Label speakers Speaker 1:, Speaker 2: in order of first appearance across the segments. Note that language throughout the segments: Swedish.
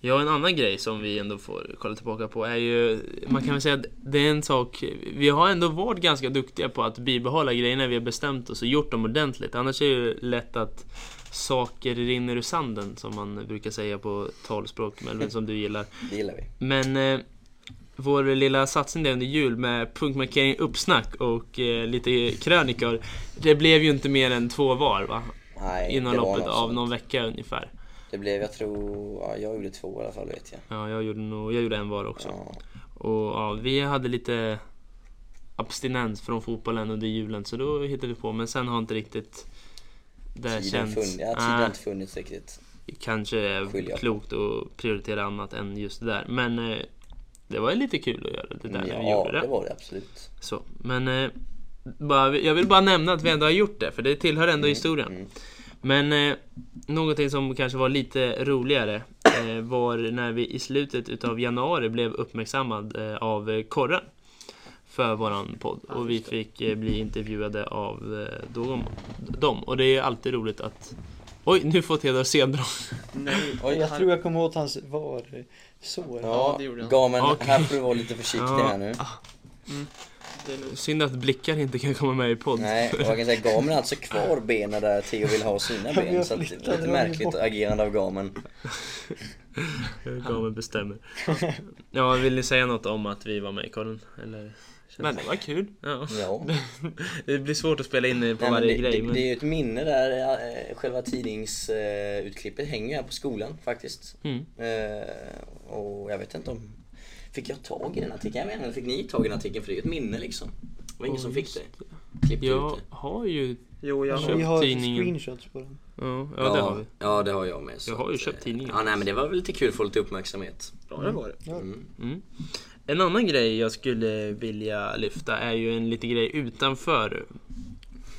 Speaker 1: Ja, en annan grej som vi ändå får kolla tillbaka på är ju, man kan väl säga att det är en sak, vi har ändå varit ganska duktiga på att bibehålla grejerna vi har bestämt oss och gjort dem ordentligt. Annars är det ju lätt att saker rinner ur sanden, som man brukar säga på talspråk, Melvin, som du gillar.
Speaker 2: Det gillar vi.
Speaker 1: Men eh, vår lilla satsning där under jul med punktmarkering uppsnack och eh, lite krönikor, det blev ju inte mer än två var, va?
Speaker 2: Nej,
Speaker 1: Inom
Speaker 2: det var alltså
Speaker 1: loppet
Speaker 2: något
Speaker 1: av
Speaker 2: sånt.
Speaker 1: någon vecka ungefär.
Speaker 2: Det blev, jag tror, ja, jag gjorde två i alla fall vet jag.
Speaker 1: Ja, jag gjorde, nog, jag gjorde en var också.
Speaker 2: Ja,
Speaker 1: Och ja, vi hade lite abstinens från fotbollen under julen så då hittade vi på. Men sen har inte riktigt det
Speaker 2: tiden
Speaker 1: känts...
Speaker 2: funnits, ja, tiden har
Speaker 1: Nej,
Speaker 2: inte funnits riktigt.
Speaker 1: kanske
Speaker 2: Skilja
Speaker 1: är
Speaker 2: på.
Speaker 1: klokt att prioritera annat än just det där. Men eh, det var ju lite kul att göra det där när vi
Speaker 2: Ja,
Speaker 1: gjorde
Speaker 2: det
Speaker 1: det.
Speaker 2: var det absolut.
Speaker 1: Så, men eh, bara, jag vill bara nämna att vi ändå har gjort det för det tillhör ändå historien.
Speaker 2: mm.
Speaker 1: Men eh, någonting som kanske var lite roligare eh, var när vi i slutet utav januari blev uppmärksammad eh, av eh, Korren för våran podd och vi fick eh, bli intervjuade av eh, dem, dem och det är ju alltid roligt att Oj, nu får Theodor sendrag.
Speaker 3: Nej,
Speaker 2: Oj,
Speaker 3: jag
Speaker 2: han-
Speaker 3: tror jag kommer åt hans var sår.
Speaker 2: Ja,
Speaker 3: Ja.
Speaker 2: det
Speaker 3: det-
Speaker 2: gjorde
Speaker 3: han.
Speaker 2: Ja, men
Speaker 1: Okej.
Speaker 2: här får du vara lite försiktig
Speaker 1: Ja.
Speaker 2: här nu.
Speaker 3: det är lugnt.
Speaker 1: Synd att blickar inte kan komma med i podd.
Speaker 2: Nej, och jag kan säga gamen har alltså kvar benen där Theo vill ha sina
Speaker 3: men
Speaker 2: ben.
Speaker 3: jag
Speaker 2: Så att,
Speaker 3: flyttade
Speaker 2: lite
Speaker 3: dem
Speaker 2: märkligt
Speaker 3: bort.
Speaker 2: agerande av gamen.
Speaker 1: Gamen bestämmer. Ja, vill ni säga något om att vi var med i Korren? Eller?
Speaker 4: Men det var kul.
Speaker 1: Ja.
Speaker 2: Ja.
Speaker 1: Det blir svårt att spela in på
Speaker 2: Nej, men
Speaker 1: varje
Speaker 2: det,
Speaker 1: grej.
Speaker 2: det,
Speaker 1: men...
Speaker 2: det är ju ett minne där eh, själva tidningsutklippet hänger ju här på skolan faktiskt.
Speaker 1: Mm.
Speaker 2: Eh, Och jag vet inte om... Fick jag tag i den artikeln? Jag menar, eller fick ni tag i den artikeln? För det är ju ett minne liksom. Det var ingen
Speaker 1: Åh,
Speaker 2: som fick
Speaker 1: just
Speaker 2: det. Klippte ut
Speaker 1: Jag
Speaker 2: det.
Speaker 1: har ju...
Speaker 4: Jo, jag
Speaker 1: Köpt
Speaker 3: Vi har
Speaker 1: tidningen.
Speaker 3: screenshots på den.
Speaker 1: Ja, ja, det har vi.
Speaker 2: Ja, det har jag med. så
Speaker 1: Jag har ju
Speaker 2: att,
Speaker 1: köpt
Speaker 2: eh,
Speaker 1: tidningen.
Speaker 2: Ja, nej men det var väl lite kul att få lite uppmärksamhet.
Speaker 4: Bra det var det.
Speaker 2: Mm.
Speaker 1: Mm. En annan grej jag skulle vilja lyfta är ju en liten grej utanför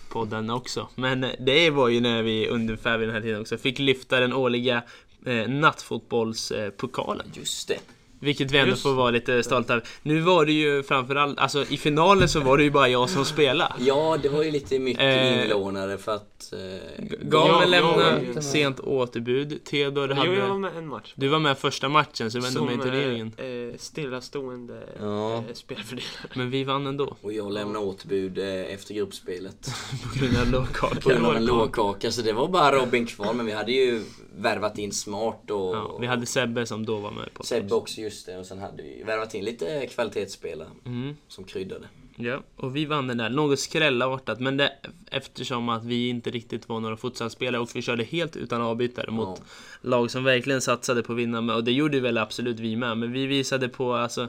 Speaker 1: podden också. Men det var ju när vi ungefär vid den här tiden också fick lyfta den årliga eh, nattfotbollspokalen.
Speaker 2: Just det.
Speaker 1: Vilket vi ändå
Speaker 4: Just
Speaker 1: får vara lite stolta över. Nu var det ju framförallt, alltså i finalen så var det ju bara jag som spelade.
Speaker 2: Ja, det var ju lite mycket
Speaker 1: Eh,
Speaker 2: inlånare för att... Eh,
Speaker 1: Gamen
Speaker 4: jag var
Speaker 1: lämnade
Speaker 4: inte
Speaker 3: med.
Speaker 1: sent återbud. Theodor
Speaker 4: Jo, jag var
Speaker 1: hade...
Speaker 4: med en match.
Speaker 1: Du var med första matchen, så jag vet inte om jag är i turneringen.
Speaker 4: eh, eh, stillastående
Speaker 2: Ja.
Speaker 4: eh, spelfördelare.
Speaker 1: Men vi vann ändå.
Speaker 2: och jag lämnade återbud eh, efter gruppspelet.
Speaker 1: På grund av lågkaka.
Speaker 2: På grund av en lågkaka, så det var bara Robin kvar. Men vi hade ju värvat in smart och...
Speaker 1: Ja, vi hade Sebbe som då var med på
Speaker 2: Sebbe också, just det. Och sen hade vi värvat in lite kvalitetsspelare
Speaker 1: Mm,
Speaker 2: som kryddade.
Speaker 1: ja, och vi vann den där. Något skrällartat, men det, eftersom att vi inte riktigt var några futsalspelare och vi körde helt utan avbytare mot
Speaker 2: Ja.
Speaker 1: lag som verkligen satsade på att vinna med, och det gjorde väl absolut vi med, men vi visade på alltså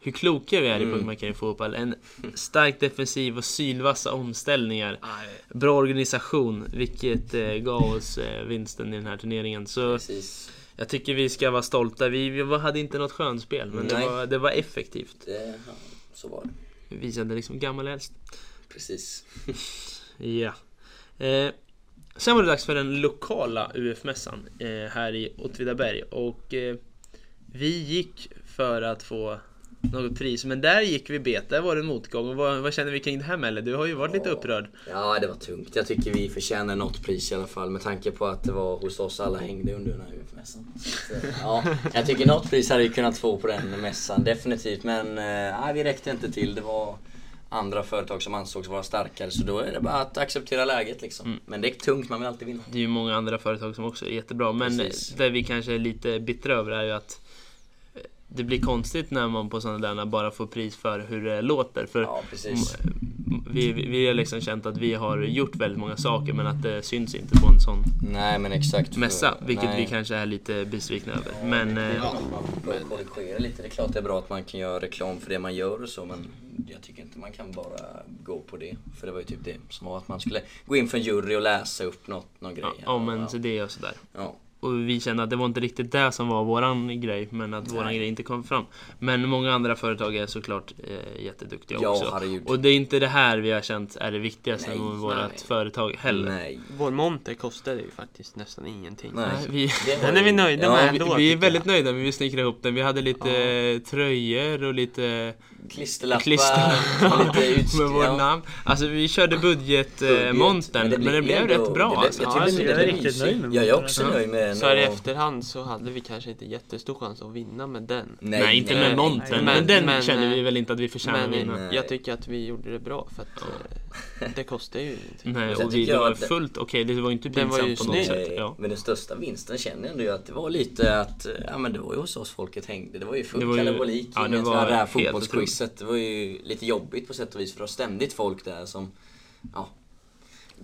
Speaker 1: hur kloka vi är
Speaker 2: Mm.
Speaker 1: i punktmarkering i fotboll. En stark defensiv och sylvassa omställningar.
Speaker 4: Nej,
Speaker 1: Bra organisation, vilket eh, gav oss eh, vinsten i den här turneringen. Så
Speaker 2: Precis.
Speaker 1: jag tycker vi ska vara stolta. Vi, vi var- hade inte något skönspel, men det
Speaker 2: Nej.
Speaker 1: var, det var effektivt.
Speaker 2: Det, ja, så var det.
Speaker 1: Vi visade liksom gammal äldst.
Speaker 2: Precis.
Speaker 1: Ja. Eh, sen var det dags för den lokala UF-mässan eh, här i Åtvidaberg och eh, vi gick för att få något pris, men där gick vi bet. Där var det en motgång. Och vad, vad känner vi kring det här Melle? Du har ju varit lite
Speaker 2: Ja.
Speaker 1: upprörd.
Speaker 2: Ja, det var tungt. Jag tycker vi förtjänar något pris i alla fall med tanke på att det var hos oss alla hängde under den här UF-mässan. Så, Ja, jag tycker något pris hade vi kunnat få på den mässan, definitivt. Men eh, nej, vi räckte inte till. Det var andra företag som ansågs vara starkare så då är det bara att acceptera läget liksom.
Speaker 1: Mm.
Speaker 2: Men det är tungt, man vill alltid vinna.
Speaker 1: Det är ju många andra företag som också är jättebra, men
Speaker 2: Precis.
Speaker 1: det vi kanske är lite bittra över är ju att eh, det blir konstigt när man på sådana där bara får pris för hur det låter. För
Speaker 2: Ja, precis.
Speaker 1: vi, vi, vi har liksom känt att vi har gjort väldigt många saker men att det syns inte på en sån
Speaker 2: Nej, men exakt. för-
Speaker 1: mässa, vilket
Speaker 2: nej.
Speaker 1: vi kanske är lite besvikna över. Men eh,
Speaker 2: Ja, man får korrigera lite. Det är klart det är bra att man kan göra reklam för det man gör och så men jag tycker inte man kan bara gå på det. För det var ju typ det som var att man skulle gå in för en jury och läsa upp något, någon grej.
Speaker 1: ja, om ens idé och sådär.
Speaker 2: Ja.
Speaker 1: Och vi kände att det var inte riktigt det som var våran grej, men att våran
Speaker 2: Nej.
Speaker 1: grej inte kom fram. Men många andra företag är såklart eh, jätteduktiga
Speaker 2: Ja,
Speaker 1: också.
Speaker 2: herregud.
Speaker 1: Och det är inte det här vi har känt är det viktigaste
Speaker 2: Nej,
Speaker 1: med
Speaker 2: nej.
Speaker 1: vårat företag heller.
Speaker 2: Nej.
Speaker 4: Vår monter kostade ju faktiskt nästan ingenting.
Speaker 1: Nej, vi,
Speaker 2: Det var
Speaker 4: Den är vi
Speaker 2: ju-
Speaker 4: nöjda
Speaker 2: ja,
Speaker 4: med
Speaker 2: vi-
Speaker 4: ändå.
Speaker 1: vi är
Speaker 4: tycker
Speaker 1: väldigt nöjda med hur vi snickrade ihop den. Vi hade lite
Speaker 4: Ja.
Speaker 1: eh, tröjor och lite
Speaker 2: Klisterlappar,
Speaker 1: Klisterlappar.
Speaker 2: lite
Speaker 1: med vårt
Speaker 2: utstyr.
Speaker 1: namn. Alltså vi körde budgetmontern,
Speaker 2: Budget,
Speaker 1: eh, montern, men, det blev
Speaker 2: ändå-
Speaker 1: rätt bra.
Speaker 2: det blev-
Speaker 1: alltså.
Speaker 2: jag
Speaker 4: Ja,
Speaker 2: tycker
Speaker 4: alltså,
Speaker 2: det
Speaker 4: jag
Speaker 2: blev
Speaker 4: är
Speaker 2: mysigt.
Speaker 3: riktigt nöjd med
Speaker 2: Jag är
Speaker 3: montern.
Speaker 2: också
Speaker 1: Ja.
Speaker 2: nöjd med den.
Speaker 4: Så här i
Speaker 2: och-
Speaker 4: efterhand så hade vi kanske inte jättestor chans att vinna med den.
Speaker 1: Nej, inte
Speaker 4: nej,
Speaker 1: med montern,
Speaker 4: nej.
Speaker 1: men,
Speaker 4: Men-
Speaker 1: den
Speaker 4: men,
Speaker 1: känner vi
Speaker 4: eh,
Speaker 1: väl inte att vi förtjänar att
Speaker 4: Men
Speaker 1: vinna.
Speaker 2: Nej.
Speaker 4: jag tycker att vi gjorde det bra för att eh, det kostar ju ingenting.
Speaker 1: Nej,
Speaker 2: Sen
Speaker 1: och vi,
Speaker 2: tycker
Speaker 1: det
Speaker 2: jag
Speaker 1: var
Speaker 2: att det-
Speaker 1: fullt okej, det var ju inte
Speaker 4: Den var
Speaker 1: pinsamt
Speaker 4: ju
Speaker 1: på något
Speaker 4: snygg.
Speaker 1: sätt.
Speaker 2: Nej,
Speaker 1: Ja.
Speaker 2: Men den största vinsten känner jag ändå ju att det var lite att, eh, ja men det var ju hos oss folket hängde. Det var ju full
Speaker 1: Det var ju-
Speaker 2: kalabalik.
Speaker 1: ja, det
Speaker 2: inget. Vi
Speaker 1: var
Speaker 2: hade det här
Speaker 1: helt otroligt.
Speaker 2: fotbollsquizet. Det var ju lite jobbigt på sätt och vis för det var ständigt folk där som, ja,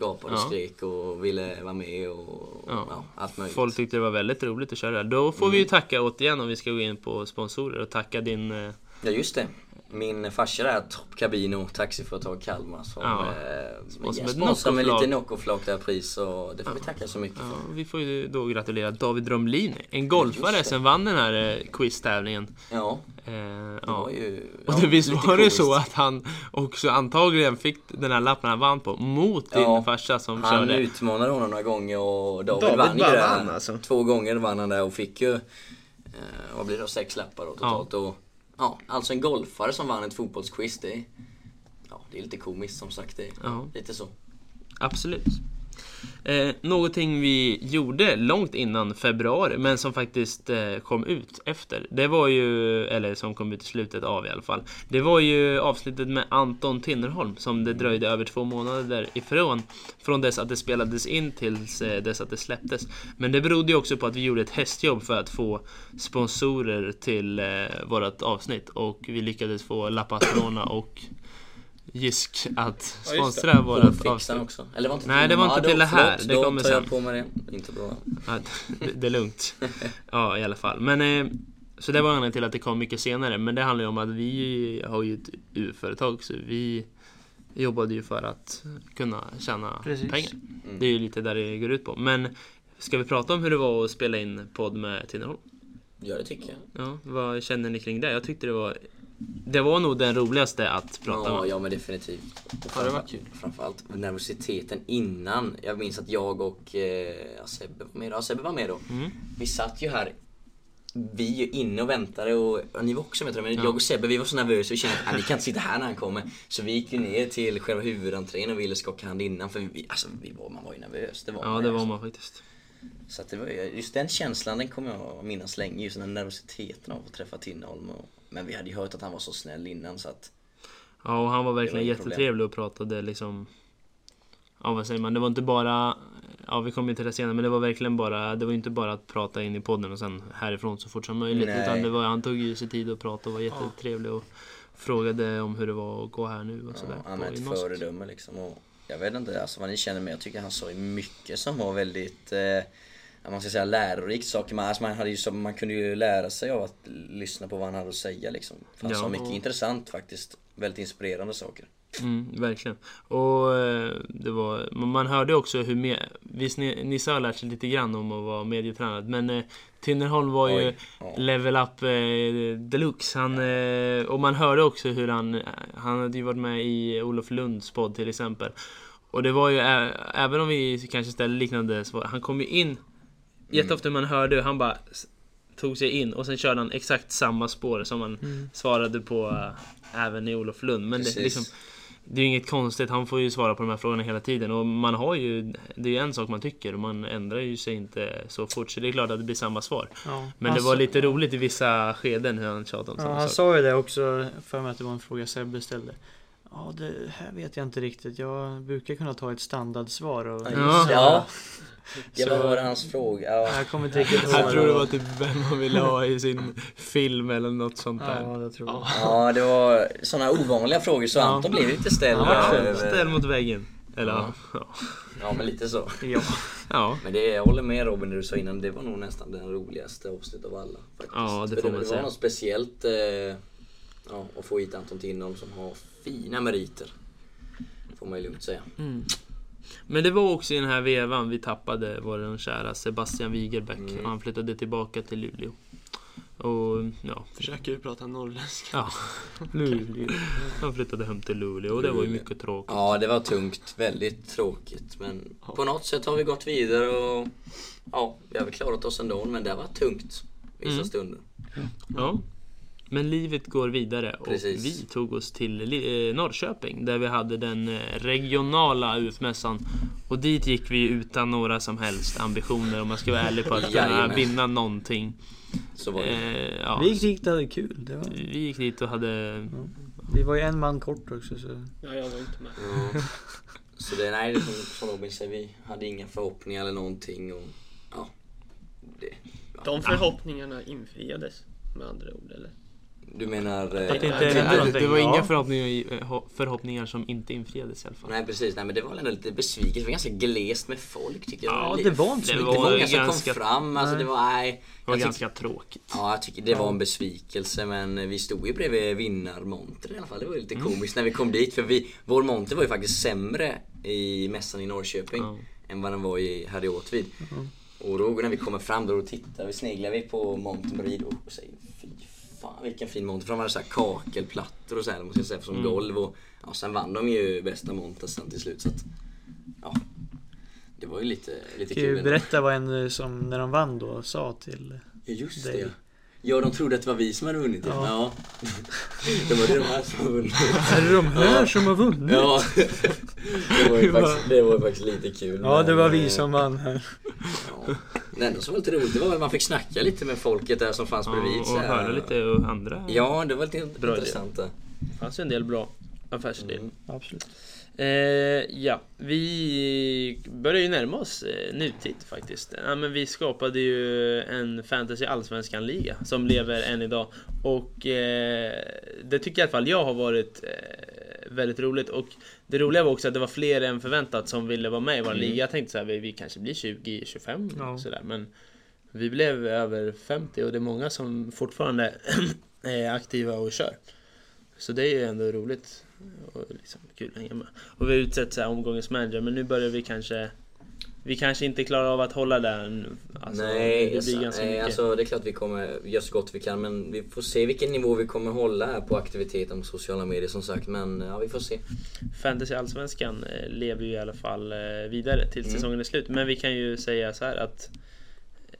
Speaker 2: gapade och
Speaker 1: Ja.
Speaker 2: skrek och ville vara med och
Speaker 1: Ja.
Speaker 2: ja. allt möjligt.
Speaker 1: Folk tyckte det var väldigt roligt att köra det här. Då får vi ju tacka återigen om vi ska gå in på sponsorer och tacka din... eh,
Speaker 2: Ja just det. Min farsa där, Top Cabino, taxiföretag Kalmar som
Speaker 1: Ja.
Speaker 2: eh,
Speaker 1: Sponsrar med
Speaker 2: ja, sponsrar med
Speaker 1: Noccoflak.
Speaker 2: lite Noccoflak där pris och det får vi tacka så mycket
Speaker 1: Ja,
Speaker 2: för.
Speaker 1: vi får ju då gratulera David Romlin, en golfare
Speaker 2: Just det.
Speaker 1: som vann den här eh, quiztävlingen.
Speaker 2: Ja,
Speaker 1: Eh,
Speaker 2: det
Speaker 1: ja.
Speaker 2: var ju...
Speaker 1: Och
Speaker 2: ja,
Speaker 1: det visst
Speaker 2: lite
Speaker 1: var det
Speaker 2: komiskt.
Speaker 1: så att han också antagligen fick den här lappen han vann på mot din
Speaker 2: Ja,
Speaker 1: farsa som
Speaker 2: Han
Speaker 1: körde.
Speaker 2: utmanade honom några gånger och David,
Speaker 3: David
Speaker 2: vann ju
Speaker 3: vann
Speaker 2: det.
Speaker 3: han,
Speaker 2: Han,
Speaker 3: alltså.
Speaker 2: Två gånger vann han där och fick ju, eh, vad blir det, då, sex lappar då totalt. Och, ja, alltså en golfare som vann ett fotbollsquiz, det är, ja, det är lite komiskt som sagt. Det är
Speaker 1: Ja.
Speaker 2: Lite så.
Speaker 1: Absolut. Eh, någonting vi gjorde långt innan februari, men som faktiskt eh, kom ut efter. Det var ju, eller som kom ut i slutet av i alla fall. Det var ju avsnittet med Anton Tinnerholm som det dröjde över två månader ifrån. Från dess att det spelades in tills eh, dess att det släpptes. Men det berodde ju också på att vi gjorde ett hästjobb för att få sponsorer till eh, vårat avsnitt. Och vi lyckades få Lappastrona och Jysk att
Speaker 3: Ja, just det.
Speaker 1: sponsra vårat
Speaker 2: Fixaren
Speaker 1: avsnitt.
Speaker 2: också. Eller var inte
Speaker 1: Nej, det var
Speaker 2: Ja,
Speaker 1: inte
Speaker 2: då-
Speaker 1: till det här.
Speaker 2: förlåt,
Speaker 1: Det
Speaker 2: då
Speaker 1: kommer
Speaker 2: tar jag
Speaker 1: sen.
Speaker 2: på mig det. Inte bra.
Speaker 1: Ja, det, det är lugnt. Ja, i alla fall. Men, eh, så det var anledningen till att det kom mycket senare. Men det handlar ju om att vi har ju ett UF-företag så vi jobbade ju för att kunna tjäna
Speaker 3: Precis.
Speaker 1: pengar.
Speaker 2: Mm.
Speaker 1: Det är ju lite där det går ut på. Men ska vi prata om hur det var att spela in podd med Tinnerholm?
Speaker 2: Ja, det tycker jag.
Speaker 1: Ja, vad känner ni kring det? Jag tyckte det var Det var nog den roligaste att prata
Speaker 2: ja,
Speaker 1: med.
Speaker 2: ja men definitivt. Och
Speaker 4: Ja, det var
Speaker 2: framför-
Speaker 4: kul.
Speaker 2: Framförallt nervositeten innan. Jag minns att jag och eh, ja, Sebbe var med då. Ja, Sebbe var med då.
Speaker 1: Mm.
Speaker 2: Vi satt ju här vi är ju inne och väntade och, och ni var också med tror jag, men
Speaker 1: Ja.
Speaker 2: jag och Sebbe vi var så nervösa vi kände att "Ah, vi kan inte sitta här när han kommer. Så vi gick ju ner till själva huvudentrén och ville skaka hand innan för vi, alltså, vi var, man var ju nervös. Det var
Speaker 1: Ja,
Speaker 2: man ju,
Speaker 1: det var
Speaker 2: alltså.
Speaker 1: man faktiskt.
Speaker 2: Så att det var, ju- just den känslan den kommer jag att minnas länge, just den här nervositeten av att träffa Tinnerholm. och- Men vi hade ju hört att han var så snäll innan så att
Speaker 1: Ja, och han var verkligen
Speaker 2: inget
Speaker 1: jättetrevlig och pratade liksom... Ja, vad säger man? Det var inte bara... Ja, vi kommer ju till det senare, men det var verkligen bara... Det var ju inte bara att prata in i podden och sen härifrån så fort som möjligt.
Speaker 2: Nej.
Speaker 1: Utan det var, han tog ju sig tid att prata och var jättetrevlig och frågade om hur det var att gå här nu och sådär.
Speaker 2: Ja, han
Speaker 1: på
Speaker 2: är ett
Speaker 1: gymnasiet.
Speaker 2: föredöme liksom. Och jag vet inte alltså, vad ni känner men jag tycker han sa ju mycket som var väldigt, eh, ja, man ska säga lärorikt. Saker man, alltså, man, hade ju, som- man kunde ju lära sig av att lyssna på vad han hade att säga liksom. För han
Speaker 1: Ja.
Speaker 2: sa mycket intressant faktiskt. Väldigt inspirerande saker.
Speaker 1: Mm, verkligen. Och eh, det var, man- man hörde också hur... Med, visst, ni- Nisse har lärt sig lite grann om att vara medietränad, men eh, Tinnerholm var ju...
Speaker 2: Oj, ja.
Speaker 1: Level up eh, deluxe. Han, eh, och man hörde också hur han, han hade ju varit med i Olof Lunds podd till exempel. Och det var ju, ä- även om vi kanske ställde liknande svar, han kom ju in jätteofta man hörde hur han bara s- tog sig in och sen körde han exakt samma spår som han svarade på eh, även i Olof Lund. Men det,
Speaker 2: Precis.
Speaker 1: liksom, det är ju inget konstigt, han får ju svara på de här frågorna hela tiden och man har ju, det är ju en sak man tycker och man ändrar ju sig inte så fort så det är klart att det blir samma svar.
Speaker 3: Ja,
Speaker 1: Men
Speaker 3: han
Speaker 1: det var
Speaker 3: sa-
Speaker 1: lite roligt i vissa skeden hur han tjatade om
Speaker 3: Alltså-
Speaker 1: samma
Speaker 3: Ja, alltså- han
Speaker 1: sak.
Speaker 3: sa ju det också, för mig att det var en fråga Sebbe ställde. Ja, det här vet jag inte riktigt. Jag brukar kunna ta ett standardsvar och...
Speaker 1: Ja.
Speaker 2: Ja, ja. ja
Speaker 1: Så-
Speaker 2: vad var det hans fråga? Ja.
Speaker 3: Jag kommer inte riktigt ihåg.
Speaker 1: Jag tror det var typ vem man ville ha i sin film eller något sånt där.
Speaker 3: Ja, det tror jag.
Speaker 2: ja, det var sådana ovanliga frågor så
Speaker 3: Ja.
Speaker 2: Anton blev lite ställd.
Speaker 1: Han var
Speaker 2: över-
Speaker 1: själv ställd mot väggen. Eller ja.
Speaker 2: Ja.
Speaker 1: Ja.
Speaker 2: Ja, men lite så.
Speaker 3: Ja.
Speaker 1: ja.
Speaker 2: Men det, jag håller med Robin det du sa innan, det var nog nästan den roligaste avsnittet av alla. Faktiskt.
Speaker 1: Ja, det
Speaker 2: För
Speaker 1: får man
Speaker 2: det
Speaker 1: säga.
Speaker 2: var något speciellt eh, ja, att få hit Anton Tinnerholm som har fina meriter. Får man ju lugnt säga.
Speaker 1: Men det var också i den här vevan vi tappade vår kära Sebastian Wigerbeck.
Speaker 2: Mm.
Speaker 1: Och han flyttade tillbaka till Luleå. Och ja,
Speaker 4: Försöker du prata norrländska?
Speaker 1: ja. Luleå. Han flyttade hem till Luleå och det var ju
Speaker 2: Luleå.
Speaker 1: mycket tråkigt.
Speaker 2: Ja, det var tungt. Väldigt tråkigt. Men
Speaker 4: Ja.
Speaker 2: på något sätt har vi gått vidare och ja, vi har väl klarat oss ändå. Men det var tungt vissa
Speaker 1: Mm.
Speaker 2: stunder.
Speaker 1: Ja. Men livet går vidare och
Speaker 2: Precis.
Speaker 1: vi tog oss till Li- eh, Norrköping där vi hade den eh, regionala UF-mässan. Och dit gick vi utan några som helst ambitioner om man ska vara ärlig på att kunna
Speaker 2: Jajamän.
Speaker 1: vinna någonting.
Speaker 2: Så var det.
Speaker 1: Eh, ja.
Speaker 3: Vi gick dit och hade kul. Det var,
Speaker 1: vi gick dit och hade...
Speaker 3: vi var ju en man kort också så...
Speaker 5: Ja, jag var inte med.
Speaker 2: Ja. Så det, nej, det är som, som Robin säger, vi hade inga förhoppningar eller någonting. Och, ja, det.
Speaker 5: De förhoppningarna infriades med andra ord, eller?
Speaker 2: Du menar... eh,
Speaker 1: Att det,
Speaker 5: det-
Speaker 1: inte hände
Speaker 5: det-
Speaker 1: någonting.
Speaker 5: det
Speaker 1: det
Speaker 5: var
Speaker 1: var
Speaker 5: Ja.
Speaker 1: inga
Speaker 5: inga
Speaker 1: förhoppningar, förhoppningar som inte infriades i alla fall.
Speaker 2: Nej precis, nej men det var väl ändå lite besviket. Det var ganska glest med folk tycker jag.
Speaker 3: Ja,
Speaker 2: Li-
Speaker 3: det var inte så
Speaker 1: Det
Speaker 2: Det
Speaker 3: mycket.
Speaker 2: var,
Speaker 1: var
Speaker 2: många som
Speaker 1: ganska-
Speaker 2: kom fram. Alltså
Speaker 3: Nej.
Speaker 2: det var, nej.
Speaker 1: Det var
Speaker 2: Jag tycker,
Speaker 1: ganska tråkigt.
Speaker 2: ja, jag tycker det var en besvikelse men vi stod ju bredvid vinnarmontern i alla fall. Det var ju lite komiskt när vi kom dit för vi, vår monter var ju faktiskt sämre i mässan i Norrköping
Speaker 1: Ja.
Speaker 2: än vad den var i, här i Åtvid.
Speaker 3: Mm.
Speaker 2: Och då när vi kommer fram då tittar vi, sneglar vi på montern bredvid och- och säger fy fan vilken fin monter. För de hade så här kakelplattor och så här, de måste säga, som
Speaker 3: Mm.
Speaker 2: golv och ja, sen vann de ju bästa montern sen till slut så att ja. Det var ju lite, lite
Speaker 3: Ska
Speaker 2: kul.
Speaker 3: ju
Speaker 2: ändå.
Speaker 3: berätta vad en eh, som, när de vann då, sa till...
Speaker 2: Ja just
Speaker 3: dig.
Speaker 2: det. Ja de trodde att det var vi som hade vunnit. Ja.
Speaker 3: Ja.
Speaker 2: ja. Det var det de här som hade vunnit.
Speaker 3: Är det de här som har vunnit?
Speaker 2: Ja. Det var ju faktiskt, det var ju faktiskt lite kul.
Speaker 3: Ja, det var
Speaker 2: men, eh,
Speaker 3: vi som vann här.
Speaker 2: Ja. Det enda som var lite roligt det var att man fick snacka lite med folket där som fanns
Speaker 1: Ja,
Speaker 2: bredvid. så
Speaker 1: och
Speaker 2: här.
Speaker 1: höra lite och andra.
Speaker 2: Ja, det var lite int-
Speaker 1: Bra idé.
Speaker 2: intressant det.
Speaker 1: Det fanns ju en del bra affärsidéer.
Speaker 2: Mm.
Speaker 3: Absolut.
Speaker 1: Eh, ja, vi börjar ju närma oss eh, nutid faktiskt. Ja, men vi skapade ju en fantasy allsvenskan-liga som lever än idag. Och eh, det tycker i alla fall jag har varit eh, väldigt roligt. Och det roliga var också att det var fler än förväntat som ville vara med i vår
Speaker 2: Mm.
Speaker 1: liga. Jag tänkte så här, vi, vi kanske blir 20-25
Speaker 3: Ja.
Speaker 1: sådär. Men vi blev över 50 och det är många som fortfarande är aktiva och kör. Så det är ju ändå roligt och liksom kul att hänga med. Och vi har utsett så här omgångens manager men nu börjar vi kanske Vi kanske inte klarar av att hålla den. Alltså,
Speaker 2: Nej,
Speaker 1: det
Speaker 2: alltså,
Speaker 1: blir ganska
Speaker 2: nej
Speaker 1: mycket.
Speaker 2: alltså, det är klart vi kommer göra så gott vi kan men vi får se vilken nivå vi kommer hålla här på aktiviteten på sociala medier som sagt. Men ja, vi får se.
Speaker 1: Fantasy Allsvenskan eh, lever ju i alla fall eh, vidare tills
Speaker 2: Mm.
Speaker 1: säsongen är slut. Men vi kan ju säga så här att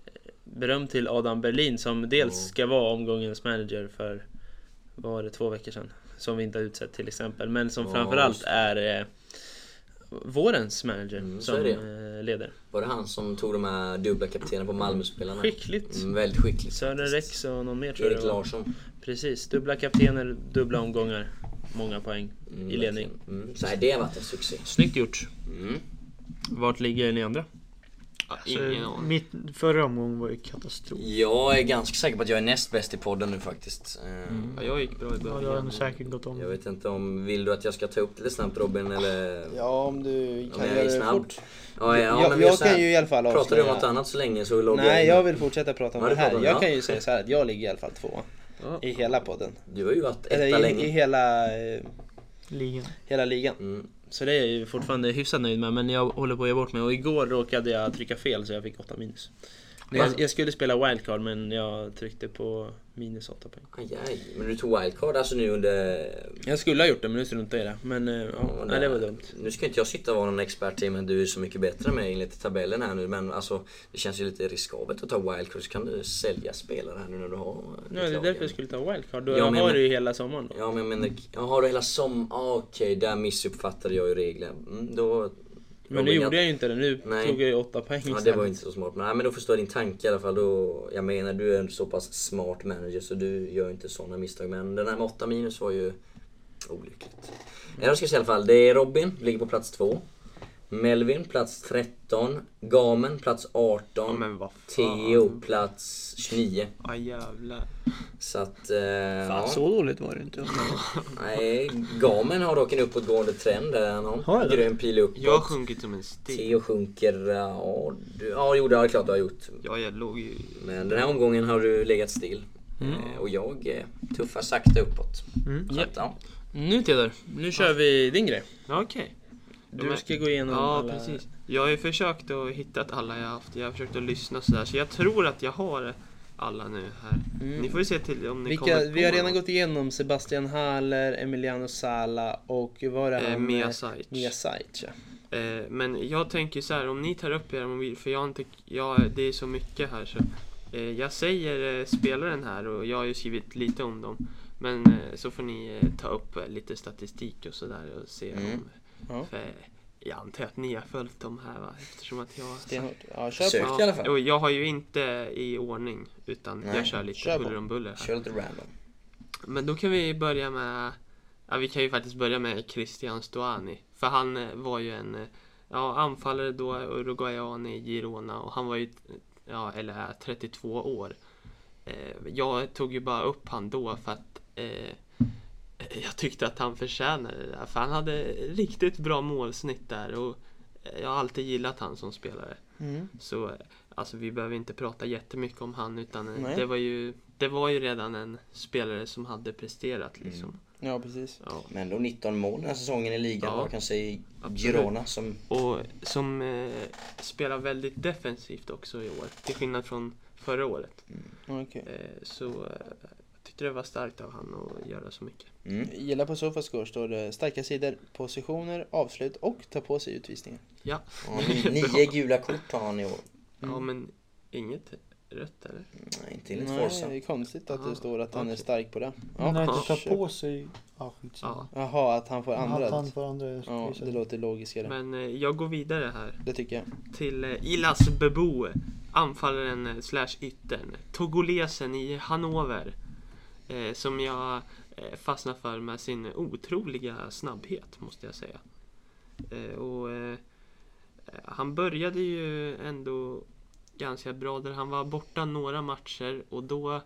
Speaker 1: eh, Beröm till Adam Berlin som dels
Speaker 2: Mm.
Speaker 1: ska vara omgångens manager för vad var det, två veckor sedan? Som vi inte har utsett till exempel. Men som
Speaker 2: Ja,
Speaker 1: framförallt
Speaker 2: just
Speaker 1: är eh, vårens manager
Speaker 2: Mm, så
Speaker 1: som
Speaker 2: är det.
Speaker 1: eh, leder.
Speaker 2: Var det han som tog de här dubbla kaptenerna på Malmöspelarna?
Speaker 1: Skickligt!
Speaker 2: Mm, väldigt skickligt.
Speaker 1: Sören
Speaker 2: faktiskt.
Speaker 1: Rex och någon mer tror jag
Speaker 2: Erik
Speaker 1: det var.
Speaker 2: Larsson. Mm,
Speaker 1: Precis, dubbla kaptener, dubbla omgångar, många poäng
Speaker 2: Mm,
Speaker 1: i ledning.
Speaker 2: verkligen. Mm. Så nej, det har varit en succé.
Speaker 1: Snyggt gjort!
Speaker 2: Mm.
Speaker 1: Vart ligger ni andra?
Speaker 4: Ja, ingen
Speaker 3: Så
Speaker 4: aning.
Speaker 3: mitt förra omgång var ju katastrof.
Speaker 2: Jag är ganska säker på att jag är näst bäst i podden nu faktiskt. Eh,
Speaker 1: Mm.
Speaker 4: Ja, jag gick bra i
Speaker 3: Ja, det har
Speaker 4: början.
Speaker 3: de säkert gått
Speaker 2: Jag
Speaker 3: om.
Speaker 2: vet inte om, vill du att jag ska ta upp det lite snabbt Robin eller?
Speaker 6: Ja, om du
Speaker 2: Om
Speaker 6: kan
Speaker 2: jag
Speaker 6: göra
Speaker 2: är
Speaker 6: det
Speaker 2: snabb?
Speaker 6: fort.
Speaker 2: Ja, ja,
Speaker 6: jag
Speaker 2: men vi gör
Speaker 6: jag
Speaker 2: så här.
Speaker 6: kan ju i alla fall
Speaker 2: Pratar du om
Speaker 6: avslöja...
Speaker 2: något annat så länge så loggar
Speaker 6: Nej,
Speaker 2: in.
Speaker 6: jag vill fortsätta prata om
Speaker 2: Ja,
Speaker 6: det
Speaker 2: du pratar
Speaker 6: här.
Speaker 2: om det, ja.
Speaker 6: Jag kan ju säga så här att jag ligger i alla fall två i hela podden.
Speaker 2: Du har ju varit etta
Speaker 6: Eller i,
Speaker 2: länge.
Speaker 6: i hela, eh,
Speaker 3: Ligan.
Speaker 6: hela ligan.
Speaker 2: Mm.
Speaker 1: Så det är jag ju fortfarande hyfsat nöjd med, men jag håller på att ge bort mig. Och igår råkade jag trycka fel så jag fick 8 minus. Men Jag, jag skulle spela wildcard men jag tryckte på minus 8 poäng.
Speaker 2: Aj, aj. Men du tog wildcard alltså nu under...
Speaker 1: Jag skulle ha gjort det men nu struntade jag i det. Men eh, ja, nej, det var dumt.
Speaker 2: Nu ska inte jag sitta och vara någon expert i men du är så mycket bättre än mig enligt tabellen här nu men alltså det känns ju lite riskabelt att ta wildcard så kan du sälja spelare här nu när du har... eh,
Speaker 1: Nej, det är
Speaker 2: reklam.
Speaker 1: därför jag skulle ta wildcard. Då
Speaker 2: Ja, men-
Speaker 1: har du ju hela sommaren då.
Speaker 2: Ja men jag menar, ja, har du hela som... Ah, Okej, där missuppfattade jag ju reglerna. Mm, då...
Speaker 1: Men nu gjorde jag ju inte det. Nu
Speaker 2: Nej.
Speaker 1: tog jag ju 8 poäng
Speaker 2: Ja, det
Speaker 1: istället.
Speaker 2: var ju inte så smart. Men, nej, men då förstår jag din tanke i alla fall. Då, jag menar, du är en så pass smart manager så du gör ju inte sådana misstag. Men den här med 8 minus var ju olyckligt. Mm. Jag ska säga i alla fall, det är Robin, ligger på plats 2. Melvin, plats 13. Gamen, plats 18.
Speaker 4: Ja, men vad fan.
Speaker 2: Theo, plats 29.
Speaker 4: Ja, jävlar.
Speaker 2: Så att... Eh,
Speaker 6: Fan,
Speaker 2: ja.
Speaker 6: så dåligt var det inte.
Speaker 2: Nej, Gamen har dock en uppåtgående trend där. Han
Speaker 3: Har
Speaker 2: har
Speaker 3: jag
Speaker 2: en
Speaker 3: det?
Speaker 2: grön pil uppåt.
Speaker 4: Jag har sjunkit som en sten.
Speaker 2: Theo sjunker, eh, ja, du, ja jo det är klart du har gjort.
Speaker 4: Ja, jag låg ju...
Speaker 2: Men den här omgången har du legat still.
Speaker 4: Mm.
Speaker 2: Eh, Och jag eh, tuffar sakta uppåt.
Speaker 3: Mm.
Speaker 2: Så att, ja.
Speaker 1: Nu Theodor, nu kör vi din grej.
Speaker 4: Ja, okej. Ja,
Speaker 1: Du
Speaker 4: men-
Speaker 1: ska gå igenom
Speaker 4: Ja,
Speaker 1: alla...
Speaker 4: precis. Jag har ju försökt att hitta att alla jag har haft. Jag har försökt att lyssna sådär. Så jag tror att jag har alla nu här.
Speaker 1: Mm.
Speaker 4: Ni får ju se till om ni
Speaker 1: Vilka,
Speaker 4: kommer på
Speaker 1: vi har redan
Speaker 4: någon.
Speaker 1: gått igenom Sebastian Haller, Emiliano Sala och vad var det
Speaker 4: Eh,
Speaker 1: han?
Speaker 4: Mia
Speaker 1: Mia
Speaker 4: Sajc.
Speaker 1: Sajc. ja.
Speaker 4: Eh, men jag tänker så här, om ni tar upp era mobil, för jag har inte, jag, det är så mycket här så Eh, Jag säger eh, spelaren här och jag har ju skrivit lite om dem. Men eh, så får ni eh, ta upp eh, lite statistik och sådär och se
Speaker 2: Mm.
Speaker 4: om...
Speaker 6: Ja.
Speaker 4: För jag antar att ni har följt dem här va? Eftersom att jag...
Speaker 6: Stenhårt. Ja, kör
Speaker 2: Sök.
Speaker 6: på.
Speaker 2: Tyckte i alla fall.
Speaker 4: och jag har ju inte i ordning utan
Speaker 2: Nej,
Speaker 4: jag kör lite
Speaker 6: kör på.
Speaker 4: huller om buller här.
Speaker 2: Kör lite random.
Speaker 4: Men då kan vi börja med... Ja, vi kan ju faktiskt börja med Christian Stuani. För han eh, var ju en eh, ja, anfallare då, uruguayan i Girona och han var ju ja, eller är 32 år. Eh, jag tog ju bara upp han då för att eh, jag tyckte att han förtjänade det där. För han hade riktigt bra målsnitt där och eh, jag har alltid gillat han som spelare.
Speaker 6: Mm.
Speaker 4: Så eh, alltså, vi behöver inte prata jättemycket om han utan eh,
Speaker 6: Nej.
Speaker 4: det var, ju, det var ju redan en spelare som hade presterat liksom.
Speaker 6: Ja, precis.
Speaker 4: Ja.
Speaker 2: Men ändå 19 mål den här säsongen i ligan
Speaker 4: Ja.
Speaker 2: var kanske i
Speaker 4: Absolut.
Speaker 2: Girona som...
Speaker 4: Och som eh, spelar väldigt defensivt också i år till skillnad från förra året.
Speaker 6: Ja, okej.
Speaker 4: Eh, så eh, jag tyckte det var starkt av han att göra så mycket.
Speaker 2: Mm.
Speaker 6: Gilla på Sofascore står det starka sidor, positioner, avslut och ta på sig utvisningar.
Speaker 2: Ja, ni- nio gula kort har han i år.
Speaker 4: Ja men inget rött eller?
Speaker 2: Nej, inte enligt
Speaker 6: Nej,
Speaker 2: Forza.
Speaker 6: det är konstigt att det
Speaker 4: Aha,
Speaker 6: står att han är
Speaker 4: Ah, okej.
Speaker 6: stark på det.
Speaker 3: Men
Speaker 6: Ja.
Speaker 3: att inte tar
Speaker 6: Köp.
Speaker 3: på sig... Ja, skitsamma.
Speaker 4: Ja.
Speaker 6: Jaha, att han får
Speaker 3: Att han
Speaker 6: andra.
Speaker 3: får andra
Speaker 6: Ja, det
Speaker 3: priset.
Speaker 6: låter logiskare.
Speaker 4: Men eh, jag går vidare här
Speaker 6: Det tycker jag.
Speaker 4: till eh, Ilas Bebo. Anfallaren eh, slash yttern. Togolesen i Hannover. Eh, som jag eh, fastnar för med sin otroliga snabbhet måste jag säga. Eh, och, eh, han började ju ändå ganska bra där han var borta några matcher och då eh,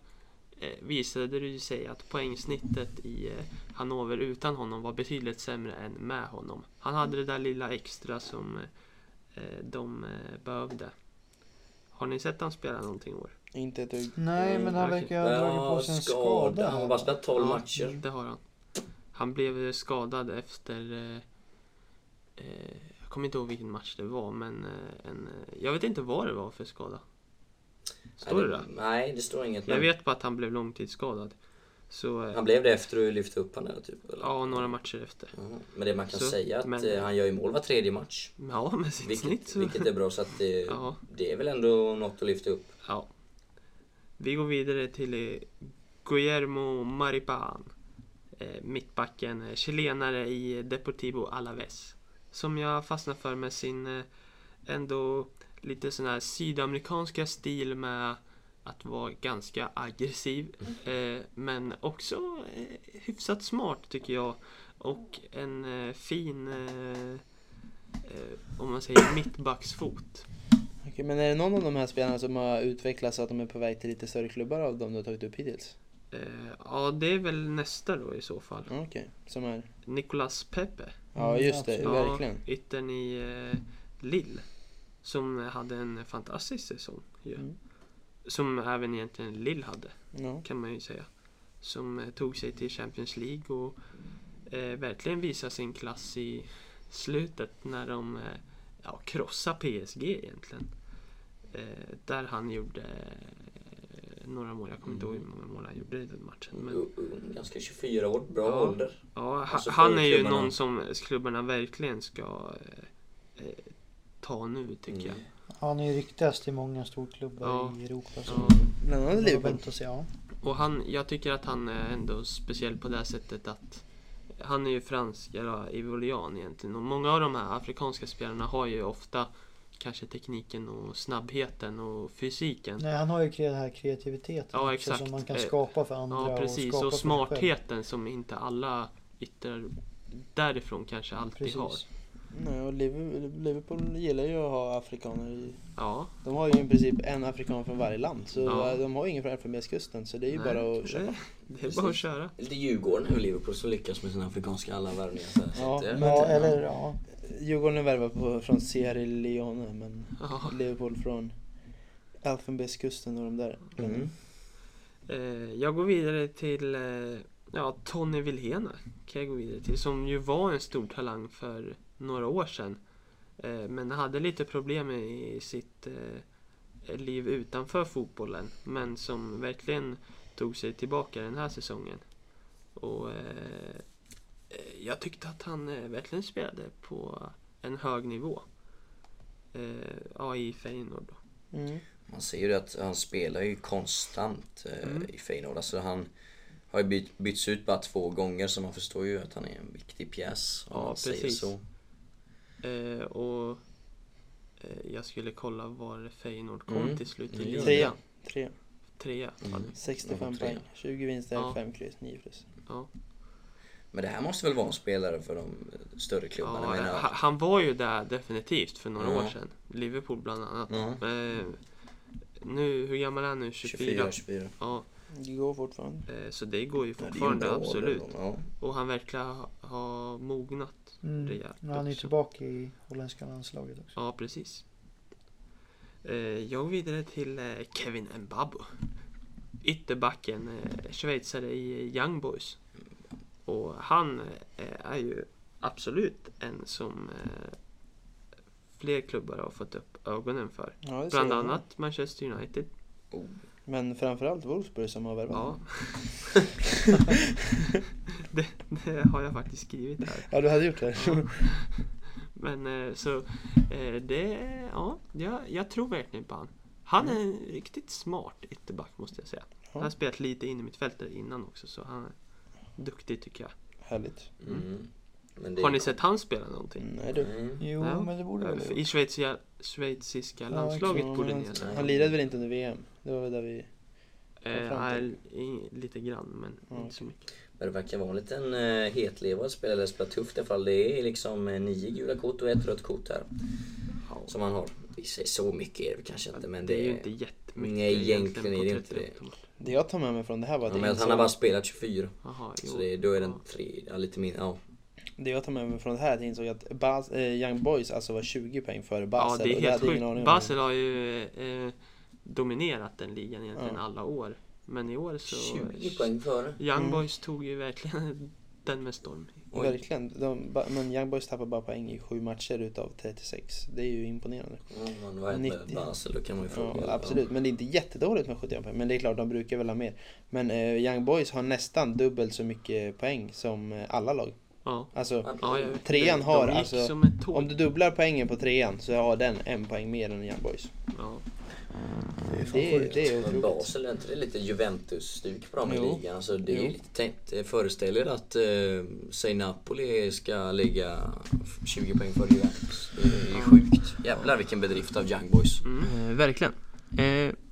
Speaker 4: visade det ju sig att poängsnittet i eh, Hannover utan honom var betydligt sämre än med honom. Han hade det där lilla extra som eh, de eh, behövde. Har ni sett han spela någonting i år?
Speaker 6: Inte ett dugg.
Speaker 3: Nej, men han
Speaker 4: Okej.
Speaker 3: verkar ha dragit på sig en skada.
Speaker 2: Han har bara spelat 12
Speaker 4: Ja,
Speaker 2: matcher.
Speaker 4: Det har han. Han blev skadad efter... Eh, eh, jag kommer inte ihåg vilken match det var, men eh, en, eh, jag vet inte vad det var för skada. Står det
Speaker 2: Nej,
Speaker 4: där?
Speaker 2: Nej, det står inget.
Speaker 4: Jag
Speaker 2: men
Speaker 4: vet bara att han blev långtidsskadad. Så, eh,
Speaker 2: Han blev det efter du lyfte upp honom eller typ? Eller?
Speaker 4: ja, några matcher efter.
Speaker 2: Ja, Men det man kan
Speaker 4: Så,
Speaker 2: säga att
Speaker 4: men-
Speaker 2: eh, han gör ju mål var tredje match.
Speaker 4: Ja, med sitt snitt
Speaker 2: Vilket,
Speaker 4: så...
Speaker 2: vilket är bra så att det,
Speaker 4: Ja.
Speaker 2: det är väl ändå något att lyfta upp.
Speaker 4: Ja. Vi går vidare till eh, Guillermo Maripán. Eh, mittbacken, eh, chilenare i Deportivo Alaves. Som jag fastnar för med sin eh, ändå lite sån här sydamerikanska stil med att vara ganska aggressiv. Eh, men också eh, hyfsat smart tycker jag. Och en eh, fin, eh, eh, om man säger mittbacksfot.
Speaker 6: Okej, men är det någon av de här spelarna som har utvecklats så att de är på väg till lite större klubbar av de du har tagit upp hittills?
Speaker 4: Eh, ja, det är väl nästa då i så fall.
Speaker 1: Mm.
Speaker 6: Ja, Okej, som är...
Speaker 4: Nicolas Pepe.
Speaker 6: Ja,
Speaker 3: Mm,
Speaker 6: just det.
Speaker 3: absolut.
Speaker 6: Verkligen.
Speaker 4: Ja, yttern i eh, Lille. Som hade en fantastisk säsong ju.
Speaker 6: Mm.
Speaker 4: Som även egentligen Lille hade,
Speaker 6: Ja.
Speaker 4: kan man ju säga. Som eh, tog sig till Champions League och eh, verkligen visade sin klass i slutet när de eh, ja, krossade PSG egentligen. Eh, där han gjorde eh, några mål, jag kommer inte ihåg hur många mål han gjorde i den matchen. Men,
Speaker 2: U- ung, Ganska 24 år, bra
Speaker 4: Ja.
Speaker 2: ålder.
Speaker 4: Ja, ha-
Speaker 2: Alltså,
Speaker 4: han
Speaker 2: för
Speaker 4: är ju
Speaker 2: klubbarna.
Speaker 4: någon som klubbarna verkligen ska eh, eh, ta nu tycker jag.
Speaker 6: Mm.
Speaker 3: Han är ju riktigast i många storklubbar
Speaker 4: Ja.
Speaker 3: i Europa. Så.
Speaker 4: Ja.
Speaker 6: Bland annat
Speaker 3: Det
Speaker 6: Liverpool.
Speaker 3: var att säga.
Speaker 4: Och han, jag tycker att han är ändå speciell på det här sättet att han är ju fransk, eller ivolian egentligen. Och många av de här afrikanska spelarna har ju ofta kanske tekniken och snabbheten och fysiken.
Speaker 3: Nej, han har ju den här kreativiteten
Speaker 4: Ja,
Speaker 3: också,
Speaker 4: exakt.
Speaker 3: som man kan
Speaker 4: Eh,
Speaker 3: skapa för andra
Speaker 4: Ja,
Speaker 3: och
Speaker 4: precis.
Speaker 3: skapa
Speaker 4: Och
Speaker 3: för sig själv.
Speaker 4: smartheten som inte alla yttrar därifrån kanske alltid
Speaker 3: Precis.
Speaker 4: har.
Speaker 6: Nej, och Liverpool, Liverpool gillar ju att ha afrikaner i...
Speaker 4: Ja,
Speaker 6: De har ju i princip en afrikan från varje land. Så
Speaker 4: Ja.
Speaker 6: eh, de har ju ingen från Elfenbenskusten. Så det är ju
Speaker 4: Nej,
Speaker 6: bara att köpa.
Speaker 4: det, det är bara att köra.
Speaker 2: Lite Djurgården och Liverpool som lyckas med sina afrikanska alla värvningar. så här. Så
Speaker 6: Ja,
Speaker 2: att eh, det-
Speaker 6: men-
Speaker 3: Ja, eller ja.
Speaker 6: Djurgården värvar på, från Sierra Leone men
Speaker 4: Ja.
Speaker 6: Liverpool från Elfenbenskusten och de där.
Speaker 2: Mm.
Speaker 4: Eh, jag går vidare till eh, ja, Tony Vilhena. Kan jag gå vidare till, som ju var en stor talang för några år sedan. Eh, men hade lite problem i sitt eh, liv utanför fotbollen. Men som verkligen tog sig tillbaka den här säsongen. Och eh, eh, jag tyckte att han eh, verkligen spelade på en hög nivå. Eh, ja, i Feyenoord då.
Speaker 6: Mm.
Speaker 2: Man ser ju det att han spelar ju konstant eh,
Speaker 4: Mm.
Speaker 2: i Feyenoord. Alltså han har ju byt, bytts ut bara två gånger så man förstår ju att han är en viktig pjäs. Om
Speaker 4: Ja,
Speaker 2: man säger
Speaker 4: precis.
Speaker 2: så.
Speaker 4: Eh, och eh, jag skulle kolla var Feyenoord kom
Speaker 2: Mm.
Speaker 4: till slut i
Speaker 2: Mm.
Speaker 4: ligan.
Speaker 1: Trea. Tre.
Speaker 4: Trea.
Speaker 2: Mm.
Speaker 1: 65
Speaker 2: Tre.
Speaker 1: poäng. 20 vinster,
Speaker 4: Ja.
Speaker 1: 5 kryss, 9 plus.
Speaker 2: Men det här måste väl vara en spelare för de eh, större klubbarna?
Speaker 4: Ja,
Speaker 2: menar jag.
Speaker 4: han, han var ju där definitivt för några
Speaker 2: Ja.
Speaker 4: år sedan. Liverpool bland annat.
Speaker 2: Ja.
Speaker 4: Eh, nu, hur gammal är han nu? 24?
Speaker 2: 24, 24.
Speaker 4: Ja,
Speaker 1: Det går fortfarande.
Speaker 4: eh, så det går ju
Speaker 2: Ja, det är ju
Speaker 4: fortfarande,
Speaker 2: bra
Speaker 4: absolut.
Speaker 2: ändå, Ja.
Speaker 4: Och han verkar ha, ha mognat
Speaker 3: Mm.
Speaker 4: rejält
Speaker 3: Men han är ju
Speaker 4: också.
Speaker 3: tillbaka i holländska landslaget också.
Speaker 4: Ja, precis. Eh, Jag går vidare till eh, Kevin Mbabo. Ytterbacken, eh, schweizare i Young Boys. Och han eh, är ju absolut en som eh, fler klubbar har fått upp ögonen för.
Speaker 1: Ja, det ser
Speaker 4: Bland
Speaker 1: jag.
Speaker 4: annat Manchester United.
Speaker 1: Men framförallt Wolfsburg som har värvat.
Speaker 4: Ja. det, det har jag faktiskt skrivit här.
Speaker 1: Ja, du hade gjort det.
Speaker 4: Ja. Men eh, så, eh, det, ja, jag, jag tror verkligen på han. Han är
Speaker 2: Mm.
Speaker 4: en riktigt smart ytterback måste jag säga. Han har spelat lite in i mitt fält där innan också så han är duktig tycker jag.
Speaker 1: Härligt.
Speaker 2: Mm. Men det
Speaker 4: Har
Speaker 2: är-
Speaker 4: ni sett han spela någonting?
Speaker 1: Nej du.
Speaker 2: Mm.
Speaker 3: Jo,
Speaker 4: Ja.
Speaker 3: men det borde väl
Speaker 4: I Schweizia, schweiziska
Speaker 3: Ja,
Speaker 4: landslaget
Speaker 1: Ja,
Speaker 4: borde
Speaker 1: men
Speaker 4: ni ha
Speaker 1: han,
Speaker 4: sett.
Speaker 2: sett.
Speaker 1: han lirade väl inte under VM? Det var väl där vi...
Speaker 4: Eh,
Speaker 1: fram till.
Speaker 4: nej, i- lite grann men
Speaker 1: Ja,
Speaker 4: inte så mycket.
Speaker 2: Men det verkar vara en liten eh, hetlevrad spelare, eller spelar tufft i alla fall. Det är liksom eh, nio gula kort och ett rött kort här.
Speaker 4: Ja.
Speaker 2: Som han har. I sig så mycket är det kanske inte men det,
Speaker 4: är ju inte jättemycket
Speaker 2: Nej, egentligen är det
Speaker 4: på
Speaker 2: inte det.
Speaker 4: 38 matcher.
Speaker 1: Det jag tar med mig från det här var
Speaker 2: Ja,
Speaker 1: att
Speaker 2: men
Speaker 1: jag
Speaker 2: att han
Speaker 1: insåg...
Speaker 2: har bara spelat 24.
Speaker 4: Jaha, jo.
Speaker 2: Så det, då är den
Speaker 4: Ja.
Speaker 2: tre, ja, lite mindre. Ja.
Speaker 1: Det jag tar med mig från det här är att jag insåg att Bas, eh, Young Boys alltså var 20 poäng före
Speaker 4: Ja,
Speaker 1: Basel.
Speaker 4: det är
Speaker 1: och jag
Speaker 4: helt
Speaker 1: hade ingen aning
Speaker 4: sjukt.
Speaker 1: om.
Speaker 4: Basel har ju eh, dominerat den ligan egentligen
Speaker 1: Ja.
Speaker 4: alla år. Men i år så...
Speaker 2: 20 poäng före.
Speaker 4: Young
Speaker 1: Mm.
Speaker 4: Boys tog ju verkligen den med storm.
Speaker 2: Oj.
Speaker 1: Verkligen. De, ba, men Young Boys tappar bara poäng i sju matcher utav 36. Det är ju imponerande.
Speaker 2: Ja, man var med
Speaker 1: 90.
Speaker 2: Basel, då kan man ju fråga.
Speaker 1: Ja, absolut, men det är inte jättedåligt med 71 poäng. Men det är klart, de brukar väl ha mer. Men eh, Young Boys har nästan dubbelt så mycket poäng som eh, alla lag.
Speaker 4: Ja.
Speaker 1: Alltså,
Speaker 4: Ja,
Speaker 7: Mm.
Speaker 4: jag vet.
Speaker 1: Trean har
Speaker 4: de gick
Speaker 1: alltså-
Speaker 4: som ett tåg.
Speaker 1: om du dubblar poängen på trean så har den en poäng mer än Young Boys.
Speaker 4: Ja.
Speaker 1: Det är, det är
Speaker 2: Men
Speaker 1: otroligt.
Speaker 2: Basel, är inte det lite Juventus-stuk på dem i
Speaker 1: Jo.
Speaker 2: ligan? Alltså det är
Speaker 1: Jo.
Speaker 2: lite tänkt. Jag föreställer er att, eh, säg Napoli ska ligga 20 poäng
Speaker 4: Mm.
Speaker 2: före Juventus. Det är sjukt. Jävlar vilken bedrift av Young Boys.
Speaker 7: Eh, verkligen. Eh,